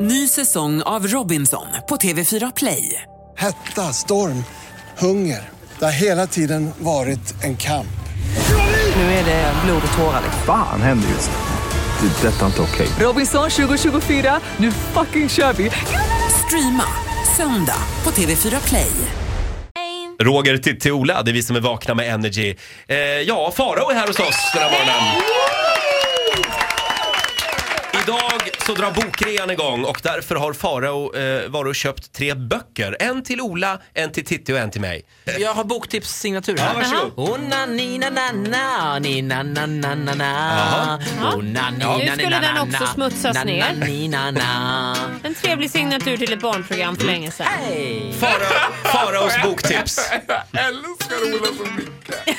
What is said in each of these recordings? Ny säsong av Robinson på TV4 Play. Hetta, storm, hunger. Det har hela tiden varit en kamp. Nu är det blod och tårar. Fan händer just nu. Det. är Detta är inte okej. Robinson 2024, nu fucking kör vi! Streama söndag på TV4 Play. Roger till till Ola, det är vi som är vakna med Energy. Eh, ja, Farao är här hos oss den här morgonen. Idag så drar bokrean igång och därför har Farao eh, varit och köpt tre böcker. En till Ola, en till Titti och en till mig. Jag har boktipssignatur här. Ja, varsågod. Oh, na, ni, na, na, na, ni, na, na, na, na, na. Oh, na, ni, na, Nu ni, skulle na, den na, också na. smutsas Na, ner. na, ni, na, na. En trevlig signatur till ett barnprogram Mm. för länge sedan. Farao- Faraos boktips. Jag älskar Ola så mycket.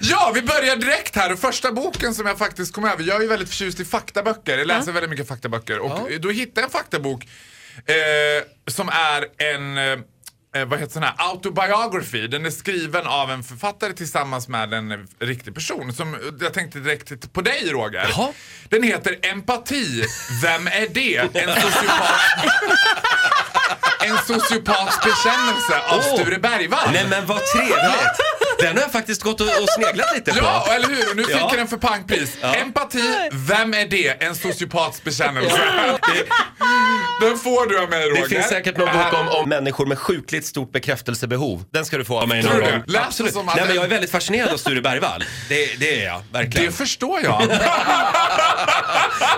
Ja, vi börjar direkt här. Första boken som jag faktiskt kom över. Jag är ju väldigt förtjust i faktaböcker. Jag läser väldigt mycket faktaböcker. Och då hittade jag en faktabok eh, som är en eh, vad heter sån här? Autobiography. Den är skriven av en författare tillsammans med en eh, riktig person. Som, jag tänkte direkt på dig Roger. Jaha. Den heter Empati. Vem är det? En sociopat en sociopats bekännelse av Åh. Sture Bergvall. Nej men vad trevligt. Den har jag faktiskt gått och, och sneglat lite på. Ja, eller hur? Och nu fick Ja. jag den för pangpris. Empati, vem är det? En sociopats bekännelse. Den får du av mig Roger. Det finns säkert någon Här- bok om, om människor med sjukligt stort bekräftelsebehov. Den ska du få av mig någon Tror du det? gång. Lät det Absolut. som att Nej, men den- jag är väldigt fascinerad av Sture Bergvall. Det, det är jag, verkligen. Det förstår jag.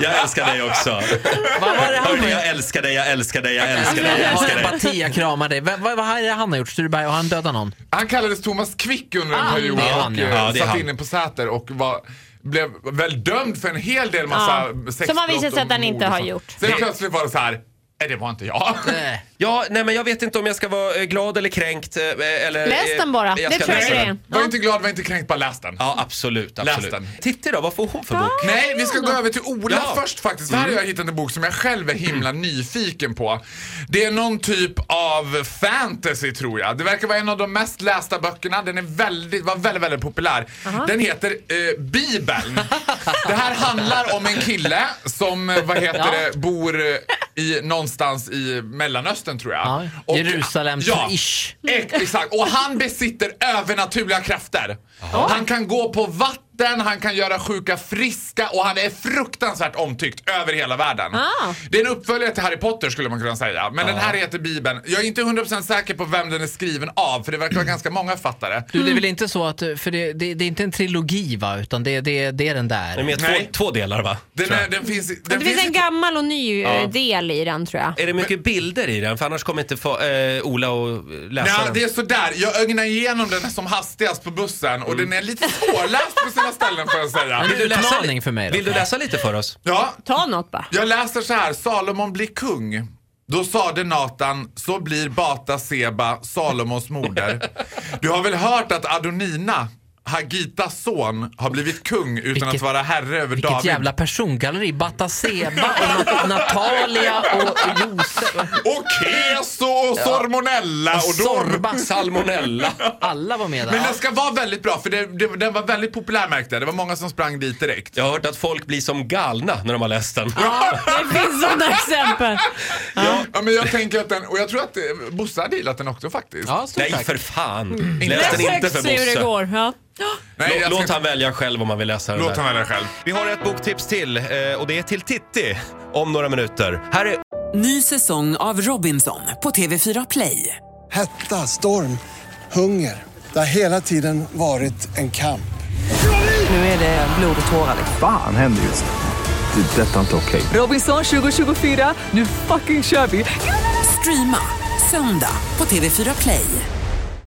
Jag älskar dig också. Vad var det han Hörde, jag älskar dig, jag älskar dig, jag älskar dig, jag Jag har älskar dig. empati, jag kramar dig. Vad, vad, vad är det han har gjort? Sturberg, har han dödat någon? Han kallades Thomas Quick under en Ah, period det är och han, ja. eh, Ja, det är satt han. inne på Säter och var, blev väl dömd för en hel del massa Ja. sexbrott Ah. Som har visat sig och att han mord inte och har sånt. gjort. Sen plötsligt var det så här, nej det var inte jag. Eh, Ja, nej men jag vet inte om jag ska vara eh, glad eller kränkt eh, eller... Läs eh, den bara. jag Det ska tror jag läsa det är. den. Var inte glad, var inte kränkt, bara läs den. Ja, absolut, Läs absolut. den. Titti då, vad får hon för bok? Nej, vi ska gå över till Ola Ja. först faktiskt. För här har jag hittat en bok som jag själv är himla nyfiken på. Det är någon typ av fantasy tror jag. Det verkar vara en av de mest lästa böckerna. Den är väldigt, var väldigt, väldigt populär. Den heter eh, Bibeln. det här handlar om en kille som, eh, vad heter det, bor eh, i, någonstans i Mellanöstern tror jag. Ja, Och- Jerusalem-ish. Ex- Exakt, och han besitter övernaturliga krafter. Han kan gå på vatten, han kan göra sjuka friska och han är fruktansvärt omtyckt över hela världen. Ah. Det är en uppföljare till Harry Potter skulle man kunna säga. Men den här heter Bibeln. Jag är inte 100% säker på vem den är skriven av för det verkar vara ganska många författare. Du, det är väl inte så att, för det, det, det är inte en trilogi va, utan det, det, det är den Den där. är två, Nej. två delar va? Den, Tror jag. är, den finns, den Det finns en gammal och ny eh, del i den tror jag. Är det mycket bilder i den? För annars kommer inte få, eh, Ola och eh, läsa Ja, Alltså. den. det är sådär. Jag ögnar igenom den som hastigast på bussen och den är lite svårläst på sina ställen får jag säga. Men läsa li- Utmaning för mig då. Vill du läsa lite för oss? Ja, Ta något bara. Jag läser så här, Salomon blir kung. Då sade Natan, så blir Bata Seba Salomons moder. Du har väl hört att Adonina, Hagitas son, har blivit kung utan Vilket- att vara herre över Vilket David. jävla persongalleri. Bataseba och Nat- Natalia och Josef. Och Keso och Sormonella och, Och Dor. Sorba. Salmonella. Alla var med där. Men den ska vara väldigt bra för det, det, den var väldigt populär märkte jag. Det var många som sprang dit direkt. Jag har hört att folk blir som galna när de har läst den. Ja, det finns sådana exempel. Ja, men jag tänker att den, och jag tror att eh, Bosse har dealat den också faktiskt. Ja, stort Nej tack. för fan. Det Läs den är inte för sex hur det Bosse. går. Ja. Nej, jag Låt, ska låt inte- han välja själv om han vill läsa den låt där. han välja själv. Vi har ett boktips till eh, och det är till Titti om några minuter. Här är Ny säsong av Robinson på TV4 Play. Hetta, storm, hunger. Det har hela tiden varit en kamp. Nu är det blod och tårar. Fan händer just nu. Det. är Detta är inte okej. Robinson 2024, nu fucking kör vi! Streama söndag på TV4 Play.